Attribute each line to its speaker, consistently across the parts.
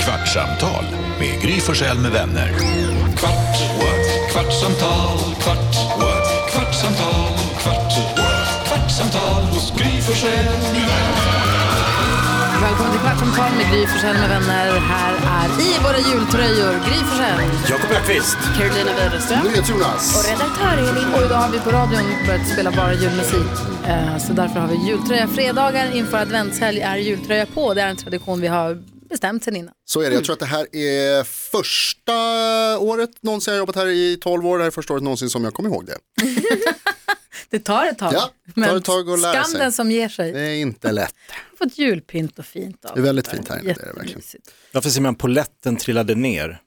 Speaker 1: Kvartsamtal med Gry Forssell med vänner. Kvart, what? kvartsamtal, kvart, what? kvartsamtal, kvart, what? kvartsamtal hos Gry Forssell med vänner.
Speaker 2: Välkommen till Kvartsamtal med Gry Forssell med vänner. Här är i våra jultröjor Gry Forssell.
Speaker 3: Jakob Öqvist.
Speaker 2: Carolina Widerström.
Speaker 4: Jonas.
Speaker 2: Och idag har vi på radion börjat spela bara julmusik. Eh, Så därför har vi jultröja. Fredagar inför adventshelg är jultröja på. Det är en tradition vi har bestämt sedan innan.
Speaker 4: Så är det. Jag tror att det här är första året någonsin jag har jobbat här i 12 år. Det här är första året någonsin som jag kommer ihåg det.
Speaker 2: Det tar ett tag.
Speaker 4: Ja, det tar ett tag att lära
Speaker 2: skam
Speaker 4: sig.
Speaker 2: den som ger sig.
Speaker 4: Det är inte lätt.
Speaker 2: Vi har fått julpynt och fint av
Speaker 4: Det är väldigt fint här inne, det är det verkligen.
Speaker 2: Jättemysigt.
Speaker 3: Varför ser man poletten trillade ner?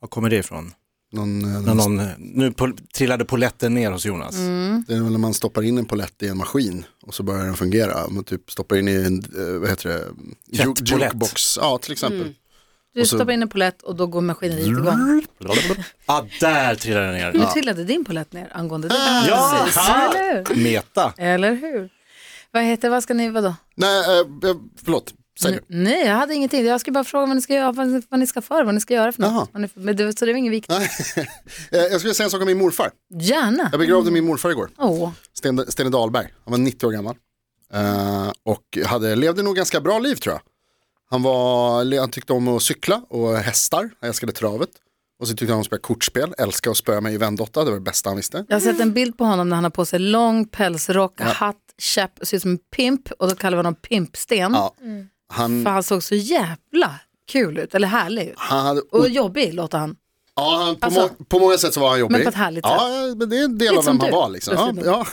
Speaker 3: Var kommer det ifrån?
Speaker 4: Någon, eh,
Speaker 3: När någon, eh, nu pol- trillade poletten ner hos Jonas.
Speaker 4: Det är väl när man stoppar in en polett i en maskin och så börjar den fungera. Man typ stoppar in i en, eh, vad heter det, Ju-
Speaker 3: Tvättpolett.
Speaker 4: jukebox. Ja, till exempel.
Speaker 2: Du
Speaker 4: Och så-
Speaker 2: stoppar in en polett och då går maskineriet igång.
Speaker 3: Ah, där trillade den ner.
Speaker 2: Nu trillade din polett ner angående det där.
Speaker 3: Ja.
Speaker 2: Precis.
Speaker 3: Ja.
Speaker 2: Eller hur?
Speaker 3: Meta.
Speaker 2: Eller hur? Vad heter, vad ska ni, vadå?
Speaker 4: Nej, eh, eh, förlåt. Säg
Speaker 2: Mm.
Speaker 4: du.
Speaker 2: Nej, jag hade ingenting. Jag skulle bara fråga vad ni ska göra, vad ni, vad ni ska för, vad ni ska göra för
Speaker 4: Jaha.
Speaker 2: något. Vad ni- Men det, så det var inget viktigt.
Speaker 4: Eh, jag skulle säga en sak om min morfar.
Speaker 2: Gärna.
Speaker 4: Jag begravde min morfar igår.
Speaker 2: Åh,
Speaker 4: Sten, Stene Dahlberg, han var 90 år gammal. Eh, och hade, levde nog ganska bra liv tror jag. Han, var, le- han tyckte om att cykla och hästar, han älskade travet. Och så tyckte han om att spela kortspel, älskade att spöa mig i vändotta, det var det bästa han visste.
Speaker 2: jag har sett en bild på honom när han har på sig lång pälsrock, hatt, käpp, ser ut som en pimp och då kallar vi honom Pimpsten.
Speaker 4: Ja. Han,
Speaker 2: För han såg så jävla kul ut, eller härlig ut.
Speaker 4: han hade,
Speaker 2: Och jobbig låter han.
Speaker 4: ja, han, på,
Speaker 2: alltså-
Speaker 4: må, på många sätt så var han jobbig.
Speaker 2: Men på ett härligt
Speaker 4: Ja, men det är en del
Speaker 2: Lite
Speaker 4: av
Speaker 2: som
Speaker 4: vem han
Speaker 2: du,
Speaker 4: var liksom.
Speaker 2: plötsligt.
Speaker 4: Ja,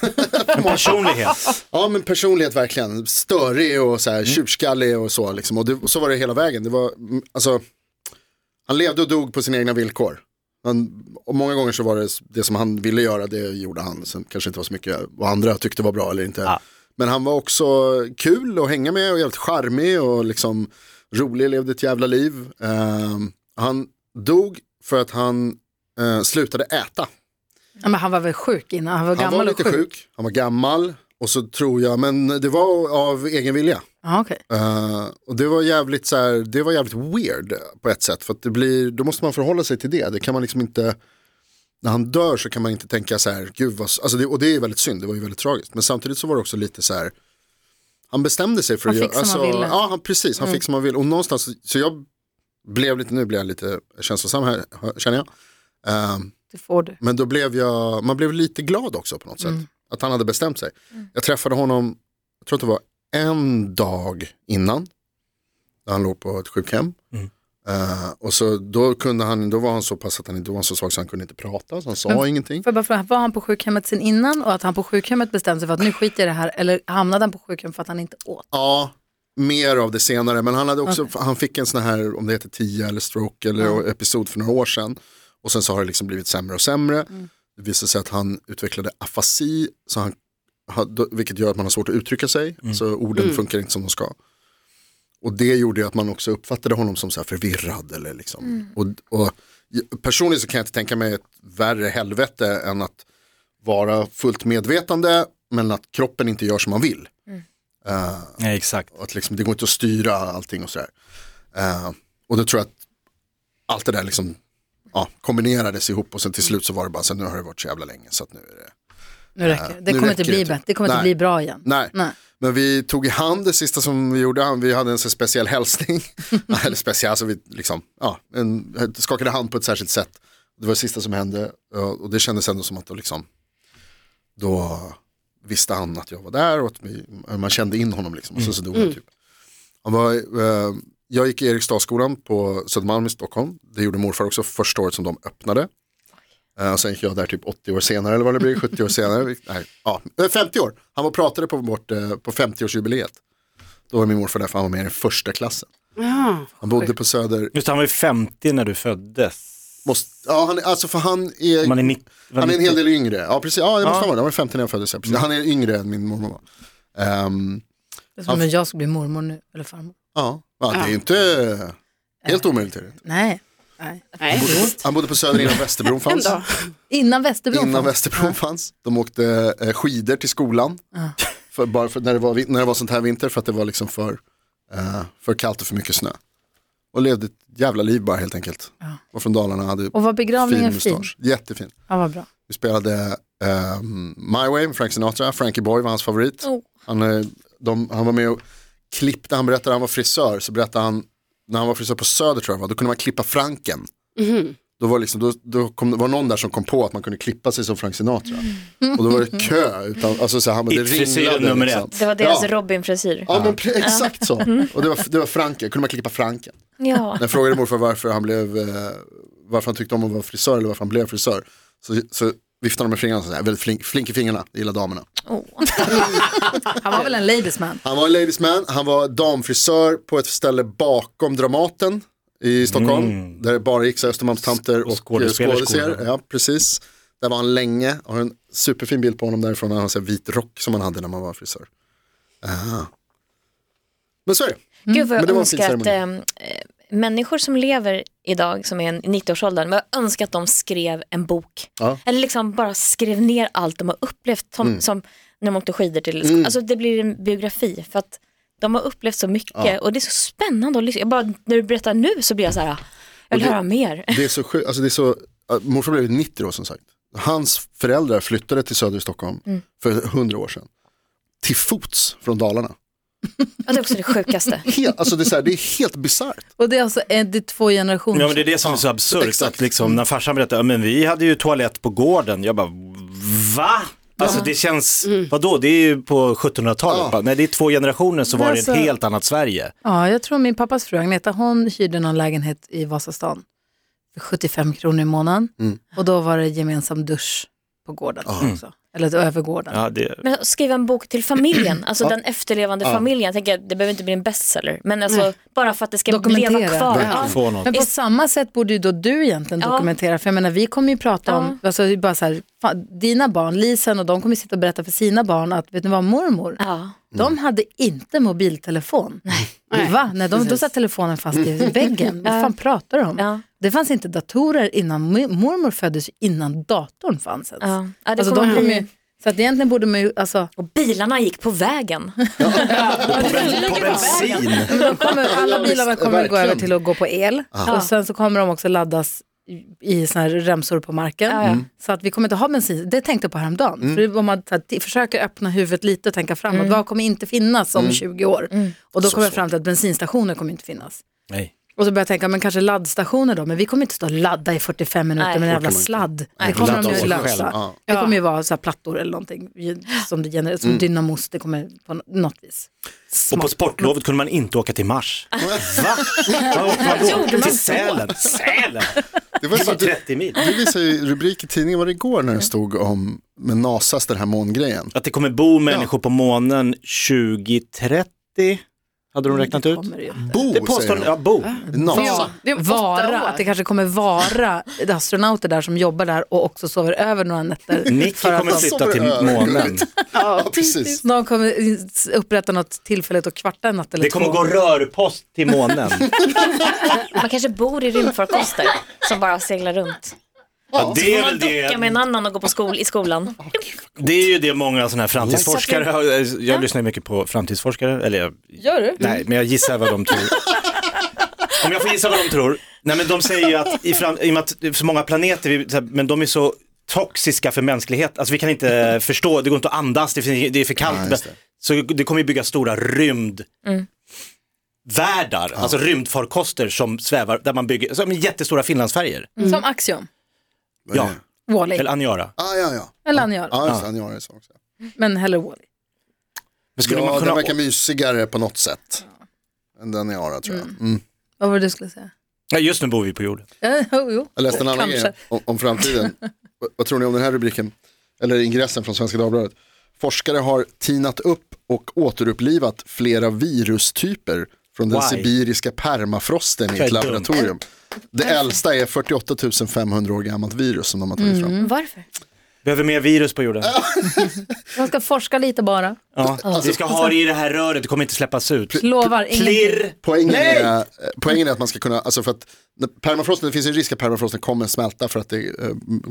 Speaker 4: ja.
Speaker 3: Personlighet.
Speaker 4: Ja men personlighet verkligen, störig och så här, tjurskallig och så liksom. Och, det, och så var det hela vägen. Det var, mm, alltså, han levde och dog på sina egna villkor. Han, och många gånger så var det s- det som han ville göra, det gjorde han. Sen kanske inte var så mycket vad andra tyckte var bra eller inte. Men han var också kul att hänga med och jävligt charmig och liksom rolig, levde ett jävla liv. Ehm, han dog för att han eh, slutade äta.
Speaker 2: Ja, men han var väl sjuk innan, han var
Speaker 4: Han
Speaker 2: gammal
Speaker 4: var lite
Speaker 2: och
Speaker 4: sjuk.
Speaker 2: sjuk.
Speaker 4: han var gammal och så tror jag, men det var av egen vilja.
Speaker 2: Ja, okej.
Speaker 4: Eh, och det var jävligt så här, det var jävligt weird på ett sätt för att det blir, då måste man förhålla sig till det. Det kan man liksom inte, när han dör så kan man inte tänka så här, gud vad, s- alltså det, och det är väldigt synd, det var ju väldigt tragiskt. Men samtidigt så var det också lite så här, han bestämde sig för
Speaker 2: Han
Speaker 4: att alltså,
Speaker 2: fick som han ville. Mm.
Speaker 4: Ja, han, precis, han fick som han ville. Och någonstans, så jag blev lite, nu blir jag lite känslosam här, känner jag. Eh,
Speaker 2: Det får du.
Speaker 4: men då blev jag, man blev lite glad också på något sätt. Att han hade bestämt sig. Jag träffade honom, jag tror att det var en dag innan. Där han låg på ett sjukhem. Eh, och så då kunde han, då var han så pass att han, då var han så svag så han kunde inte prata, så han sa ingenting.
Speaker 2: Får jag bara fråga, var han på sjukhemmet sen innan och att han på sjukhemmet bestämde sig för att nu skiter jag i det här eller hamnade han på sjukhem för att han inte åt?
Speaker 4: Ja, mer av det senare. Men han, hade också, han fick en sån här, om det heter TIA eller stroke eller episod för några år sedan. Och sen så har det liksom blivit sämre och sämre. Det visade sig att han utvecklade afasi, så han, ha- då- vilket gör att man har svårt att uttrycka sig. Så orden funkar inte som de ska. Och det gjorde ju att man också uppfattade honom som så här förvirrad. Eller liksom. och, och personligen så kan jag inte tänka mig ett värre helvete än att vara fullt medvetande men att kroppen inte gör som man vill.
Speaker 3: Nej, exakt.
Speaker 4: Och att liksom, det går inte att styra allting och sådär. Eh, och då tror jag att allt det där liksom, ja, kombinerades ihop och sen till slut så var det bara, så här, nu har det varit så jävla länge så att nu är det.
Speaker 2: Nu räcker det. Det
Speaker 4: nu
Speaker 2: kommer inte
Speaker 4: räcker
Speaker 2: bli
Speaker 4: det, typ.
Speaker 2: bättre. Det kommer inte
Speaker 4: Nej.
Speaker 2: bli bra igen.
Speaker 4: Nej.
Speaker 2: Nej.
Speaker 4: Men vi tog i hand det sista som vi gjorde, Han- vi hade en så speciell hälsning. Eller speciell, alltså vi liksom, ja, en, skakade hand på ett särskilt sätt. Det var det sista som hände ja, och det kändes ändå som att då liksom, då visste han att jag var där och att vi, man kände in honom liksom. Och sen så dog han typ. Han var, eh, jag gick i Eriksdalsskolan på Södermalm i Stockholm. Det gjorde morfar också första året som de öppnade. Eh, och sen gick jag där typ 80 år senare eller vad det blir, 70 år senare. Vi- Nej, ja, eh, 50 år. Han var och pratade på, vårt, eh, på 50-årsjubileet. Då var min morfar där för han var med i den första klassen. Han bodde på Söder.
Speaker 3: Just det, han var ju 50 när du föddes.
Speaker 4: Måste, ja, han, är- alltså för han är,
Speaker 3: Man är 90.
Speaker 4: han är en hel del yngre. Ja, precis. Ja, det måste han vara. Han var 50 när jag föddes. ja, precis. Han är yngre än min mormor var. Ehm,
Speaker 2: Det är som om jag ska bli mormor nu, eller farmor.
Speaker 4: ja, ja, det är ju inte helt omöjligt. Är det. inte.
Speaker 2: Nej. Nej.
Speaker 5: Nej.
Speaker 4: Han bodde på Söder innan Västerbron fanns.
Speaker 2: Innan Västerbron
Speaker 4: Innan
Speaker 2: fanns.
Speaker 4: Västerbron fanns. De åkte eh, skidor till skolan. För, bara för, när, det var, vin- när det var sånt här vinter för att det var liksom för, eh, för kallt och för mycket snö. Och levde ett jävla liv bara helt enkelt. Var från Dalarna, hade
Speaker 2: Och var begravningen
Speaker 4: fin
Speaker 2: fin?
Speaker 4: mustasch. Jättefin.
Speaker 2: Ja, vad bra.
Speaker 4: Vi spelade ehm, My Way med Frank Sinatra, Frankie Boy var hans favorit.
Speaker 2: Oh.
Speaker 4: Han, eh, de, han var med och klippte, han berättade att han var frisör, så berättade han, när han var frisör på Söder tror jag det var, då kunde man klippa Franken. Då, var, det liksom, då, då kom, det var någon där som kom på att man kunde klippa sig som Frank Sinatra. Och då var det kö, utan, alltså så här, han bara, det
Speaker 3: It-frisyren
Speaker 4: ringlade.
Speaker 3: nummer
Speaker 4: liksom.
Speaker 3: ett.
Speaker 5: Det var deras
Speaker 4: Ja.
Speaker 5: Robin-frisyr.
Speaker 4: Ja, men pre- exakt så. Och det var, det var Franken, kunde man klippa Franken.
Speaker 5: Ja.
Speaker 4: När jag frågade morfar varför han blev, eh, varför han tyckte om att vara frisör eller varför han blev frisör. Så, så viftade han med fingrarna, så här, väldigt flink, flink i fingrarna, det gillar damerna.
Speaker 5: Åh.
Speaker 2: Han var väl en ladiesman?
Speaker 4: Han var en ladies man, han var damfrisör på ett ställe bakom Dramaten i Stockholm. Där det bara gick så här Östermalmstanter och
Speaker 3: skådespelerskor,
Speaker 4: skådisar. Ja, precis. Där var han länge, jag har en superfin bild på honom därifrån, han har så här vit rock som han hade när man var frisör. Aha. Men så är det.
Speaker 5: Gud vad
Speaker 4: Men
Speaker 5: jag
Speaker 4: det var en fin
Speaker 5: önskar att eh, eh, människor som lever idag, som är i 90-årsåldern, vad jag önskar att de skrev en bok.
Speaker 4: Ja. Mm.
Speaker 5: Eller liksom bara skrev ner allt de har upplevt, som, som när de åkte skidor till Alltså det blir en biografi, för att de har upplevt så mycket och det är så spännande att lyssna. Jag bara, när du berättar nu så blir jag så här, "Ah, jag vill
Speaker 4: Och det-
Speaker 5: höra mer.
Speaker 4: Det är så sjukt, alltså det är så, äh, morfar blev 90 år som sagt. Hans föräldrar flyttade till söder i Stockholm för 100 år sedan. Till fots från Dalarna.
Speaker 5: Ja, det är också det sjukaste.
Speaker 4: Helt, alltså det är, så här, det är helt bisarrt.
Speaker 2: Och det är alltså en, det är två generationer.
Speaker 3: Ja men det är det som är så absurt,
Speaker 4: exakt.
Speaker 3: att liksom, när farsan berättade, ja men vi hade ju toalett på gården, jag bara va? Alltså det känns, vadå, det är ju på 1700-talet,
Speaker 4: Mm. Ja.
Speaker 3: bara, nej det är två generationer så var det
Speaker 2: Alltså-
Speaker 3: ett helt annat Sverige.
Speaker 2: Ja, jag tror min pappas fru Agneta, hon hyrde någon lägenhet i Vasastan för 75 kronor i månaden.
Speaker 4: Mm.
Speaker 2: Och då var det gemensam dusch på gården också. Eller över gården.
Speaker 3: Ja, det,
Speaker 5: Men att skriva en bok till familjen, alltså den efterlevande familjen. Jag tänker, det behöver inte bli en bestseller, men alltså bara för att det ska
Speaker 2: Dokumentera.
Speaker 5: leva kvar.
Speaker 3: Verkligen. Få något.
Speaker 2: Men på
Speaker 5: Is-
Speaker 2: samma sätt borde ju då du egentligen
Speaker 5: Ja.
Speaker 2: dokumentera, för jag menar vi kommer ju prata om, alltså, det är bara så här, fan, dina barn, Lisen och de kommer sitta och berätta för sina barn att, vet ni vad, mormor,
Speaker 5: Ja. Mm.
Speaker 2: de hade inte mobiltelefon. Nej. Va? Nej, de, då satt telefonen fast i väggen. Vad fan pratar de om?
Speaker 5: Mm. Ja.
Speaker 2: Det fanns inte datorer innan, mo- mormor föddes ju innan datorn fanns ens.
Speaker 5: Ja. Ja, det
Speaker 2: alltså,
Speaker 5: kommer
Speaker 2: de kom
Speaker 5: bli-
Speaker 2: ju, så att egentligen borde man ju, alltså,
Speaker 5: Och bilarna gick på vägen.
Speaker 3: på bensin.
Speaker 2: Men de kommer, alla bilarna kommer gå
Speaker 4: verkligen.
Speaker 2: över till att gå på el och sen så kommer de också laddas i- i såna här remsor på marken. Mm. Så att vi kommer inte ha bensin, det tänkte jag på häromdagen.
Speaker 4: Mm.
Speaker 2: För om man så här, t- försöker öppna huvudet lite och tänka framåt, vad kommer inte finnas om
Speaker 4: Mm.
Speaker 2: 20 år? Och då kommer jag fram till att bensinstationer kommer inte finnas.
Speaker 3: Nej.
Speaker 2: Och så börjar jag tänka, men kanske laddstationer då, men vi kommer inte stå och ladda i 45 minuter
Speaker 5: Nej.
Speaker 2: med en jävla
Speaker 4: man inte.
Speaker 2: sladd. Det kommer
Speaker 3: ladda
Speaker 2: de
Speaker 3: oss
Speaker 2: ju
Speaker 3: själv.
Speaker 2: lösa.
Speaker 4: Ja. Mm.
Speaker 2: Det kommer ju vara så här plattor eller någonting som, det genererar, som dynamos, det kommer på nå- något vis.
Speaker 3: Och på sportlovet kunde man inte åka till Mars. Va? Vad åkte man då?
Speaker 2: Gjorde man så?
Speaker 3: Till Sälen. Sälen,
Speaker 4: Det var
Speaker 3: det
Speaker 4: så
Speaker 3: var
Speaker 4: att du,
Speaker 3: 30 mil.
Speaker 4: du visade ju rubrik i tidningen, var det igår när det stod om med Nasas den här mångrejen?
Speaker 3: Att det kommer bo människor på månen 2030, hade de räknat ut?
Speaker 2: Kommer det ju.
Speaker 4: Bo
Speaker 3: Det påstår
Speaker 4: säger
Speaker 3: ja, bo.
Speaker 4: de. Nasa.
Speaker 6: Ja, det är åtta
Speaker 2: vara,
Speaker 6: år.
Speaker 2: att det kanske kommer vara astronauter där som jobbar där och också sover över några nätter.
Speaker 3: Nicky kommer
Speaker 2: de,
Speaker 3: flytta till
Speaker 4: Sover över.
Speaker 3: månen.
Speaker 4: Ja, precis.
Speaker 2: de kommer upprätta något tillfälligt och kvarta en natt eller
Speaker 3: Det kommer
Speaker 2: två.
Speaker 3: gå rörpost till månen.
Speaker 5: Man kanske bor i rymdfarkoster som bara seglar runt.
Speaker 3: Ja, det, är
Speaker 5: Man
Speaker 3: väl
Speaker 5: dockar med
Speaker 3: det,
Speaker 5: en annan och går på skol i skolan.
Speaker 3: det är ju det många sådana här framtidsforskare, har- jag lyssnar ju mycket på framtidsforskare, eller jag,
Speaker 2: Gör du?
Speaker 3: nej men jag gissar vad de tror. Om jag får gissa vad de tror, nej men de säger ju att i, fram, i och med att det är så många planeter, vi, så här, men de är så toxiska för mänsklighet, alltså vi kan inte förstå, det går inte att andas, det, finns- det är för kallt.
Speaker 4: Nej, just det.
Speaker 3: Så det kommer ju bygga stora rymd världar,
Speaker 4: Mm.
Speaker 3: alltså rymdfarkoster som svävar, där man bygger, som jättestora finlandsfärger.
Speaker 2: Som Axiom,
Speaker 4: Vad är
Speaker 3: Ja,
Speaker 4: det?
Speaker 2: Wally,
Speaker 3: eller Aniara.
Speaker 4: Ah, ja, ja.
Speaker 2: eller han gör,
Speaker 4: Ah, just, det, han gör det så också.
Speaker 2: men hellre Wally.
Speaker 3: Men skulle
Speaker 4: Ja,
Speaker 3: man kunna...
Speaker 4: den verkar mysigare på något sätt. Än den jag har tror jag. Mm.
Speaker 2: Vad var det du skulle säga?
Speaker 3: Ja, just nu bor vi på jorden.
Speaker 2: Eh, Jo, jo.
Speaker 4: Jag läste en annan
Speaker 2: Kanske.
Speaker 4: grej om, om framtiden. vad, vad tror ni om den här rubriken? Eller ingressen från Svenska Dagbladet. Forskare har tinat upp och återupplivat flera virustyper från den
Speaker 3: Why?
Speaker 4: sibiriska permafrosten i
Speaker 3: Det är
Speaker 4: ett
Speaker 3: dumt.
Speaker 2: Mm.
Speaker 4: laboratorium. Det äldsta är 48 500 år gammalt virus som de har tagit fram.
Speaker 5: Varför?
Speaker 3: Behöver mer virus på jorden.
Speaker 2: Man ska forska lite bara.
Speaker 3: Ja.
Speaker 2: Alltså,
Speaker 3: Vi ska ha det i det här röret, det kommer inte släppas ut.
Speaker 2: Lovar ingenting.
Speaker 3: Klirr!
Speaker 4: Poängen
Speaker 3: Nej!
Speaker 4: är, eh, poängen är att man ska kunna, alltså för att när permafrosten, det finns en risk att permafrosten kommer smälta för att det eh, på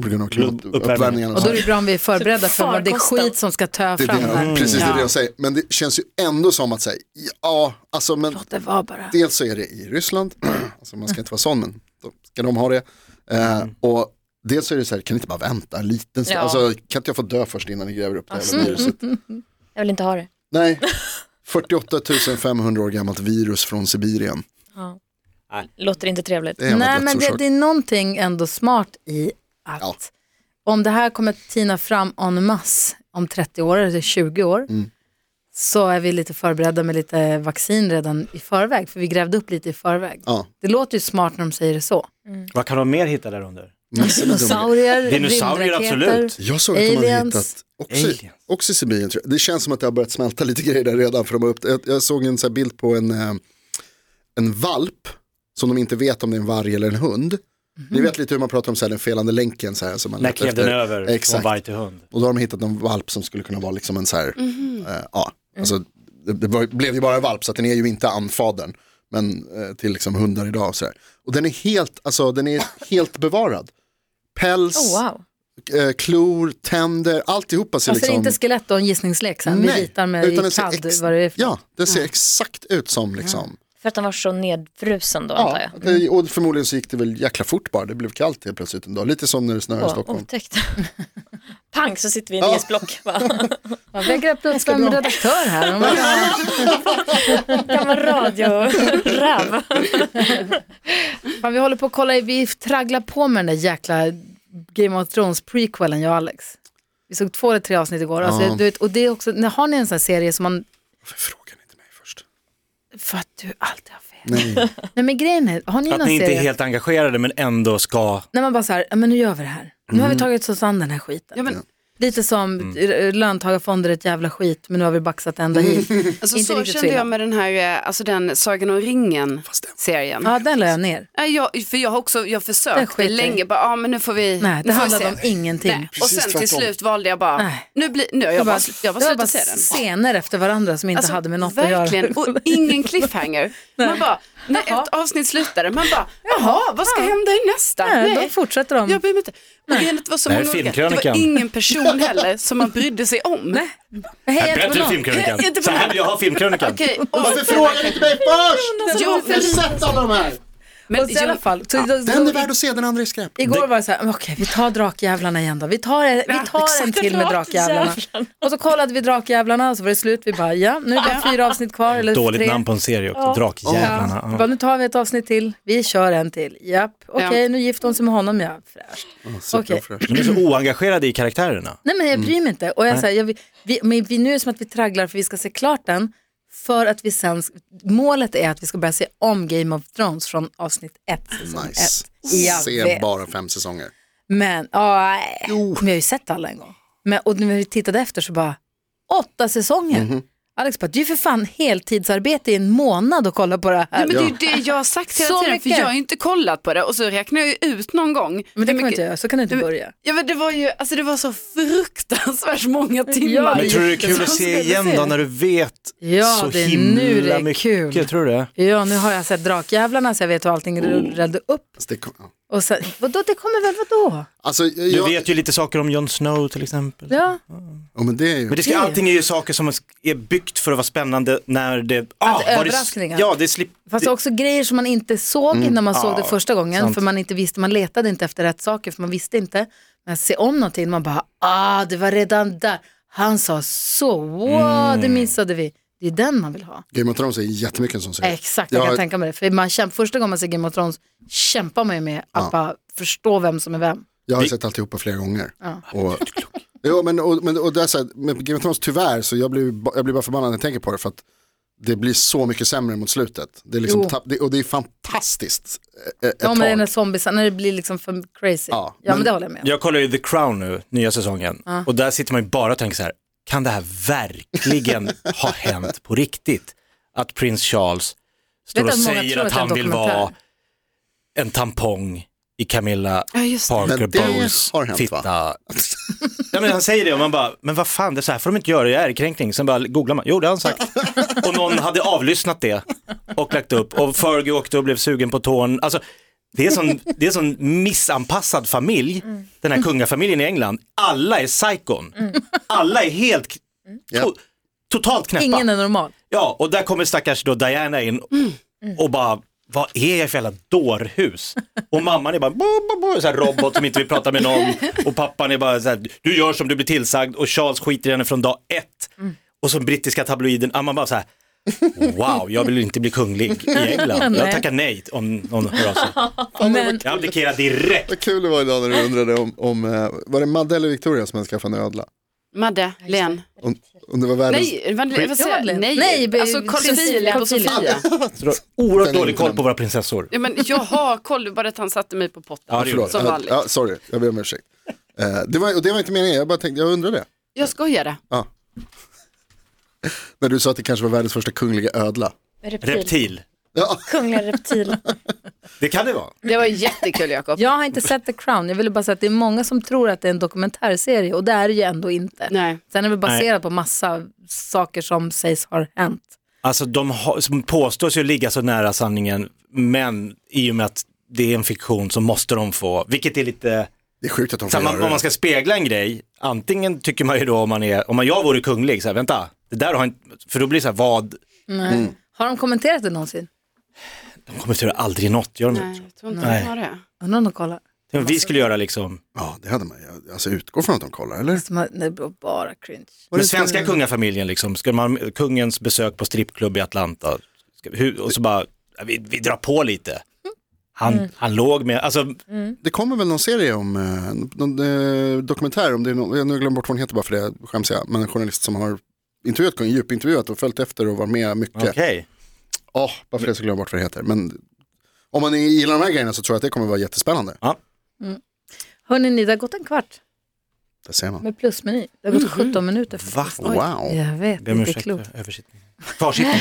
Speaker 4: grund av
Speaker 3: Uppvärmningen.
Speaker 4: klimatuppvärmningen.
Speaker 2: Och då är det bra om vi är förberedda
Speaker 5: Så
Speaker 2: för vad det är
Speaker 5: farkosten.
Speaker 2: skit som ska tö
Speaker 4: Det är
Speaker 2: fram
Speaker 4: det,
Speaker 2: här.
Speaker 4: Precis, det är det
Speaker 2: Ja.
Speaker 4: jag säger. Men det känns ju ändå som att säga, ja, alltså men
Speaker 2: Det var bara.
Speaker 4: dels så är det i Ryssland, alltså man ska inte vara sån, men då ska de ha det. Eh,
Speaker 2: Mm.
Speaker 4: och dels så är det så här, kan ni inte bara vänta en liten stund?
Speaker 5: Ja.
Speaker 4: Alltså, kan inte jag få dö först innan ni gräver upp det här jävla viruset?
Speaker 5: Jag vill inte ha det.
Speaker 4: Nej, 48 500 år gammalt virus från Sibirien.
Speaker 5: Låter inte trevligt.
Speaker 4: Det är en jävla
Speaker 2: Nej men det,
Speaker 4: dödsorsak.
Speaker 2: det är någonting ändå smart i att
Speaker 4: Ja.
Speaker 2: om det här kommer tina fram en masse om 30 år eller 20 år
Speaker 4: Mm.
Speaker 2: så är vi lite förberedda med lite vaccin redan i förväg för vi grävde upp lite i förväg.
Speaker 4: Ja,
Speaker 2: Det låter ju smart när de säger det så.
Speaker 3: Vad kan de mer hitta där under?
Speaker 4: massor med dumma
Speaker 2: Dinosaurier,
Speaker 3: Dinosaurier,
Speaker 2: rymdraketer.
Speaker 3: absolut.
Speaker 4: Jag såg att de hade
Speaker 2: Aliens.
Speaker 4: hittat, också,
Speaker 3: Aliens.
Speaker 4: också i Sibirien, tror jag. det känns som att det har börjat smälta lite grejer där redan. För de har upp, jag, jag såg en så här bild på en, eh, en valp som de inte vet om det är en varg eller en hund.
Speaker 5: Mhm.
Speaker 4: Ni vet lite hur man pratar om så här, den felande länken. Så här, som man
Speaker 3: När
Speaker 4: letar
Speaker 3: klev den
Speaker 4: efter.
Speaker 3: över
Speaker 4: Exakt.
Speaker 3: från varg till hund?
Speaker 4: Och då har de hittat en valp som skulle kunna vara liksom en så här,
Speaker 5: Mhm.
Speaker 4: eh, ja,
Speaker 5: Mm.
Speaker 4: alltså, det, det var, blev ju bara en valp så att den är ju inte anfadern. Men eh, till liksom hundar idag och så här. Och den är helt, alltså den är helt bevarad. Päls,
Speaker 5: Oh, wow.
Speaker 4: eh, klor, tänder, alltihopa ser
Speaker 2: Alltså det är
Speaker 4: liksom...
Speaker 2: inte skelett och en gissningslek sen, vi ritar med i
Speaker 4: ser
Speaker 2: CAD
Speaker 4: ex-
Speaker 2: vad det är för
Speaker 4: Ja, det ser exakt ut som liksom...
Speaker 5: För att den var så nedfrusen då antar
Speaker 4: Ja,
Speaker 5: jag.
Speaker 2: Mm.
Speaker 4: det, och förmodligen så gick det väl jäkla fort bara, det blev kallt helt plötsligt en dag. Lite som när det snöade i
Speaker 5: Åh,
Speaker 4: Stockholm.
Speaker 5: otäckt. Pang så sitter vi i
Speaker 4: Ja.
Speaker 5: en isblock. Ja.
Speaker 2: Ja, vi har grävt upp en redaktör här. Om
Speaker 5: Gammal radioräv.
Speaker 2: Fan, vi håller på att kolla, vi tragglar på med den där jäkla Game of Thrones prequelen, jag och Alex. Vi såg två eller tre avsnitt igår. Alltså,
Speaker 4: Ja.
Speaker 2: du vet, och det är också, när- har ni en sån här serie som man,
Speaker 4: Varför frågar ni inte mig först?
Speaker 2: för att du alltid har fel.
Speaker 4: Nej,
Speaker 2: Nej men grejen är, har ni
Speaker 3: Att
Speaker 2: någon
Speaker 3: ni inte
Speaker 2: serie
Speaker 3: är helt engagerade men ändå ska...
Speaker 2: när man bara så här, "Ja, men nu gör vi det här. Nu har vi tagit oss an den här skiten.
Speaker 6: Ja, men,
Speaker 2: Lite som mm. löntagarfonder är ett jävla skit, men nu har vi baxat ända hit.
Speaker 6: alltså,
Speaker 2: Inte
Speaker 6: så
Speaker 2: riktigt
Speaker 6: kände
Speaker 2: så
Speaker 6: jag
Speaker 2: illa.
Speaker 6: med den här eh, alltså, den Sagan om ringen-serien.
Speaker 2: Ja, den la jag ner.
Speaker 6: Nej, Jag, för jag har också, jag
Speaker 2: Den
Speaker 6: försökte
Speaker 2: skiter jag i.
Speaker 6: länge, bara, ah, men nu får vi,
Speaker 2: Nej,
Speaker 6: nu
Speaker 2: det
Speaker 6: får vi
Speaker 2: handlade
Speaker 6: se."
Speaker 2: om ingenting.
Speaker 6: Nej. Och
Speaker 4: Precis
Speaker 6: sen till
Speaker 4: tvärtom.
Speaker 6: slut valde jag bara,
Speaker 2: Nej.
Speaker 6: nu blir, nu, har jag,
Speaker 2: Det
Speaker 6: bara,
Speaker 2: var-
Speaker 6: jag bara
Speaker 2: det var bara
Speaker 6: slutat se den. Alltså,
Speaker 2: scener efter varandra som inte hade med något
Speaker 6: verkligen,
Speaker 2: att göra.
Speaker 6: och ingen cliffhanger. Man bara, när ett avsnitt slutade, man bara, jaha, vad ska hända i nästa?
Speaker 2: Nej, de fortsätter de.
Speaker 6: Jag bryr mig inte. Och grejen är att det var så
Speaker 3: Nej,
Speaker 6: många olika. Det var
Speaker 3: filmkrönikan.
Speaker 6: ingen person heller som man brydde sig om.
Speaker 2: Hej, jag tror
Speaker 3: Äh, Bättre
Speaker 2: någon-
Speaker 3: filmkrönikan.
Speaker 6: Inte på
Speaker 3: Så här
Speaker 6: någon.
Speaker 3: vill jag ha filmkrönikan.
Speaker 6: Okej, och-
Speaker 4: varför frågar ni inte mig först?
Speaker 6: Jo,
Speaker 4: Jag har
Speaker 6: men-
Speaker 4: sett alla de här.
Speaker 6: men-
Speaker 2: Och så i alla fall, så, så,
Speaker 4: Den är
Speaker 2: så,
Speaker 4: värd att se, den andra är skräp.
Speaker 2: igår var det så här, men okej vi tar drakjävlarna igen då. Vi tar, vi tar en till med drakjävlarna. Och så kollade vi drakjävlarna och så var det slut. Vi bara, ja nu är det bara fyra avsnitt kvar. Eller
Speaker 3: Dåligt
Speaker 2: tre.
Speaker 3: namn på en serie också,
Speaker 2: Ja.
Speaker 3: Drakjävlarna.
Speaker 2: Bara, nu tar vi ett avsnitt till, vi kör en till. Japp, okej
Speaker 6: Ja.
Speaker 2: nu gifter hon sig med honom, ja. Fräscht.
Speaker 4: Superfräsch.
Speaker 3: De är så oengagerade i karaktärerna.
Speaker 2: Nej men jag bryr mig inte. Och jag, så här, jag, vi, vi, men vi, nu är det som att vi tragglar för vi ska se klart den. För att vi sen, målet är att vi ska börja se om Game of Thrones från avsnitt ett. säsong
Speaker 4: Nice.
Speaker 2: ett. Jag
Speaker 4: Se
Speaker 2: vet.
Speaker 4: bara fem säsonger.
Speaker 2: Men, ja, nej. men jag har ju sett alla en gång. Men, och när vi tittade efter så bara, åtta säsonger. Alex bara, det är ju för fan heltidsarbete i en månad att kolla på det här.
Speaker 6: Ja, men det är ju det jag har sagt hela
Speaker 2: Så
Speaker 6: tiden,
Speaker 2: mycket.
Speaker 6: för jag har ju inte kollat på det och så räknar jag ju ut någon gång.
Speaker 2: Men det kan
Speaker 6: hur
Speaker 2: man inte
Speaker 6: mycket-
Speaker 2: göra, så kan du inte
Speaker 6: Men-
Speaker 2: börja.
Speaker 6: Ja men det var ju, alltså det var så fruktansvärt många
Speaker 2: Ja,
Speaker 6: timmar.
Speaker 3: Men tror du det är kul att
Speaker 6: Som
Speaker 3: se
Speaker 6: skulle
Speaker 3: igen
Speaker 6: se.
Speaker 3: då när du vet
Speaker 2: Ja,
Speaker 3: så
Speaker 2: det är
Speaker 3: himla
Speaker 2: nu det är
Speaker 3: mycket?
Speaker 2: kul.
Speaker 3: Tror du det?
Speaker 2: Ja, nu har jag sett Drakjävlarna så jag vet hur allting rullade upp.
Speaker 4: Alltså, det kom- ja.
Speaker 2: Och sen, vadå, det kommer väl vadå?
Speaker 4: Alltså,
Speaker 3: Du
Speaker 4: jag,
Speaker 3: vet ju lite saker om Jon Snow till exempel.
Speaker 2: Ja,
Speaker 4: ja, men det är ju...
Speaker 3: Men det ska, allting är ju saker som är byggt för att vara spännande när det... Ah,
Speaker 2: Att
Speaker 3: var det-
Speaker 2: överraskningar.
Speaker 3: Ja, det slip...
Speaker 2: fast också grejer som man inte såg när man såg det första gången.
Speaker 3: sant.
Speaker 2: För man inte visste, man letade inte efter rätt saker för man visste inte. Men att se om någonting, man bara, ah, det var redan där. Han sa så, wow, det missade vi. Det är den man vill ha.
Speaker 4: Game of Thrones är jättemycket en sån serie.
Speaker 2: Exakt, jag kan
Speaker 4: Ja,
Speaker 2: tänka mig det. För man kämp- första gången man ser Game of Thrones kämpar man ju med att bara förstå vem som är vem.
Speaker 4: Jag har sett alltihopa flera gånger. Och, jo, men, och, men, och det är så här, med Game of Thrones tyvär, så jag blir, ba- jag blir bara förbannad när jag tänker på det. För att det blir så mycket sämre mot slutet. Det är liksom
Speaker 2: Jo.
Speaker 4: tapp, det, och det är fantastiskt eh, ett
Speaker 2: Ja, men det är när
Speaker 4: tag.
Speaker 2: zombies, när det blir liksom för crazy. Ja,
Speaker 4: Ja,
Speaker 2: men,
Speaker 4: men-
Speaker 2: det håller jag med om.
Speaker 3: Jag kollar ju The Crown nu, nya säsongen. Och där sitter man ju bara och tänker så här, kan det här verkligen ha hänt på riktigt? Att prins Charles står
Speaker 2: Vet
Speaker 3: och
Speaker 2: att många
Speaker 3: säger
Speaker 2: tror
Speaker 3: att
Speaker 2: att det är en
Speaker 3: han vill
Speaker 2: dokumentär.
Speaker 3: vara en tampong i Camilla
Speaker 6: Ja, just det.
Speaker 3: Parker
Speaker 4: Men det
Speaker 3: Bowles
Speaker 4: har hänt,
Speaker 3: fitta.
Speaker 4: va?
Speaker 3: ja, men han säger det och man bara, men vad fan, det är så här får de inte göra, det är ärekränkning. Sen bara googlar man, jo det har han sagt. och någon hade avlyssnat det och lagt upp och Fergie åkte och blev sugen på tån. Alltså, det är sån, det är sån missanpassad familj,
Speaker 4: Mm.
Speaker 3: den här kungafamiljen i England. Alla är psykon. Alla är helt, k-
Speaker 4: Mm. Ja.
Speaker 3: to, totalt knäppa.
Speaker 2: Ingen är normal.
Speaker 3: Ja, och där kommer stackars då Diana in och bara, vad är jag för jävla dårhus? Och mamman är bara, bo, bo, bo, så här robot som inte vill prata med någon. Och pappan är bara så här, du gör som du blir tillsagd och Charles skiter i henne från dag ett. Och så brittiska tabloiden, ah, man bara så här, wow, jag vill inte bli kunglig i England. Jag
Speaker 2: Nej.
Speaker 3: tackar nej om någon hör av sig.
Speaker 2: Men,
Speaker 3: Jag abdikerar direkt.
Speaker 4: Vad kul det var idag när du undrade om, om eh, var det Madde eller Victoria som hade skaffat en ödla?
Speaker 6: Madde, Len.
Speaker 4: Om, om det var världens...
Speaker 6: Nej, vad vad säger
Speaker 2: Ja,
Speaker 6: jag?
Speaker 2: Len.
Speaker 6: Nej,
Speaker 2: Nej, be-
Speaker 6: alltså Carl
Speaker 2: Cecilia.
Speaker 6: Philip och
Speaker 2: Cecilia.
Speaker 6: Sofia.
Speaker 3: Så du har Oerhört
Speaker 4: Den är
Speaker 3: dålig
Speaker 4: inte
Speaker 3: koll
Speaker 4: den.
Speaker 3: på våra prinsessor.
Speaker 6: Ja, men jag har koll, det var bara att han satte mig på potten.
Speaker 3: Ja, det gjorde
Speaker 4: Förlåt,
Speaker 6: som
Speaker 4: Ja,
Speaker 6: vanligt.
Speaker 4: ja, sorry, jag ber om ursäkt. Eh, det, var, och det var inte meningen, jag bara tänkte, jag undrade.
Speaker 6: Jag skojade.
Speaker 4: Ja. när du sa att det kanske var världens första kungliga ödla.
Speaker 5: Reptil.
Speaker 3: Reptil,
Speaker 4: Ja,
Speaker 5: Kungliga reptil.
Speaker 3: det kan det vara.
Speaker 6: Det var jättekul Jakob.
Speaker 2: jag har inte sett The Crown, jag ville bara säga att det är många som tror att det är en dokumentärserie och det är det ju ändå inte.
Speaker 6: Nej.
Speaker 2: Sen är det baserat på massa saker som sägs har hänt.
Speaker 3: Alltså de har, som påstås ju ligga så nära sanningen, men i och med att det är en fiktion så måste de få, vilket är lite,
Speaker 4: det är sjukt att de får
Speaker 3: så här, man, om
Speaker 4: göra
Speaker 3: man
Speaker 4: det.
Speaker 3: ska spegla en grej, antingen tycker man ju då om man är, om jag vore kunglig, så här, vänta, det där har inte, för då blir det så här, vad,
Speaker 4: Mm.
Speaker 2: Har de kommenterat det någonsin?
Speaker 3: de kommer att göra aldrig något, gör de
Speaker 6: Nej,
Speaker 3: inte?
Speaker 6: jag tror inte det var det.
Speaker 2: Undrar om de kollar.
Speaker 3: Men Vi skulle göra liksom,
Speaker 4: Ja, det hade man ju. Alltså utgå från att de kollar, eller?
Speaker 2: Som har- nej, det var bara cringe.
Speaker 3: den svenska kungafamiljen liksom, ska man, kungens besök på strippklubb i Atlanta, ska, hur, och så bara, ja, vi, vi drar på lite. Han, han låg med, alltså
Speaker 4: Det kommer väl någon serie om, eh, någon eh, dokumentär om det är någon, jag nu glömmer bort vad hon heter bara för det skäms jag, men en journalist som har intervjuat kungen, djupintervjuat och följt efter och varit med mycket.
Speaker 3: okej.
Speaker 4: Ja, bara för det så glömmer jag bort vad det heter. Men om man gillar de här grejerna så tror jag att det kommer vara jättespännande.
Speaker 2: Hörni, ni, det har gått en kvart
Speaker 4: Det ser man.
Speaker 2: med plusmeny. Det har gått
Speaker 6: Mm.
Speaker 2: 17 minuter.
Speaker 3: Va?
Speaker 4: Wow.
Speaker 2: Jag vet, det
Speaker 3: Ber om
Speaker 2: är
Speaker 3: ursäkt
Speaker 2: klokt.
Speaker 3: för översittning. Kvarsittning.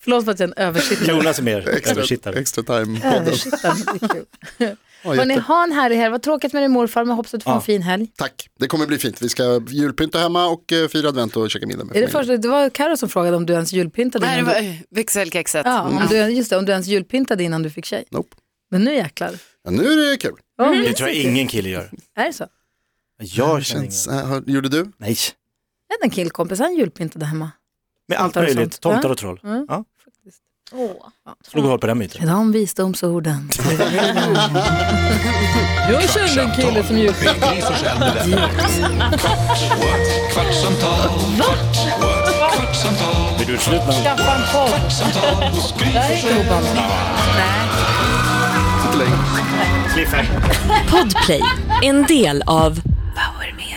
Speaker 2: Förlåt för att jag är en översittare.
Speaker 3: Jonas är mer
Speaker 4: Extra,
Speaker 3: översittare.
Speaker 4: extra
Speaker 2: Äh.
Speaker 4: time-podden.
Speaker 2: Översittare, det är kul.
Speaker 4: Ja,
Speaker 2: Hörni,
Speaker 4: jätte-
Speaker 2: ha en härlig helg. Vad tråkigt med din morfar, men hoppas att du får
Speaker 3: Ja.
Speaker 2: en fin helg.
Speaker 4: Tack, det kommer bli fint. Vi ska julpynta hemma och eh, fira advent och käka middag med
Speaker 2: Är det,
Speaker 4: familjen.
Speaker 2: första, det var Karo som frågade om du ens julpyntade.
Speaker 6: Nej, det
Speaker 2: innan
Speaker 6: var
Speaker 2: du,
Speaker 6: eh, växelkexet.
Speaker 2: ja, om du, just det, om du ens julpyntade innan du fick tjej.
Speaker 4: Nope.
Speaker 2: Men nu jäklar.
Speaker 4: Ja, nu är det kul.
Speaker 2: Oh,
Speaker 3: Mm. Det tror jag ingen kille gör.
Speaker 2: Är det så?
Speaker 3: Jag
Speaker 4: Känns, eh, har- gjorde du?
Speaker 3: Nej,
Speaker 2: Jag hade en killkompis, han julpyntade hemma.
Speaker 3: med allt
Speaker 2: Tomtar och
Speaker 3: möjligt.
Speaker 2: sånt.
Speaker 3: Tomtar och troll. Ja,
Speaker 5: Åh.
Speaker 3: slog hål på den myten.
Speaker 2: De visdomsorden. jag kände en kille som julpyntade.
Speaker 1: med Gry Forssell med vänner. Kvart, what? kvartsamtal, kvart, what? kvartsamtal,
Speaker 3: Är du slut med
Speaker 2: Skaffa en podd.
Speaker 1: kvartsamtal hos Gry Forssell med vänner.
Speaker 3: Cliffhanger.
Speaker 7: Podplay, en del av Power Media.